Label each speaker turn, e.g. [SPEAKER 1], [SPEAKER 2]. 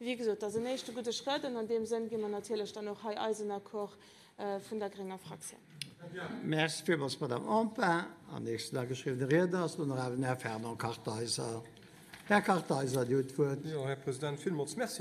[SPEAKER 1] Wie gesagt, das ist der nächste gute Schritt und in dem Sinn gehen wir natürlich dann auch Herrn Eisener Koch äh, von der Geringer Fraktion.
[SPEAKER 2] Merci vielmals, Madame Ampin. Am nächsten Tag geschriebene Redner ist nun Herr Fernand Kartheiser. Herr Kartheiser, die Antwort.
[SPEAKER 3] Ja, Herr Präsident, vielmals merci.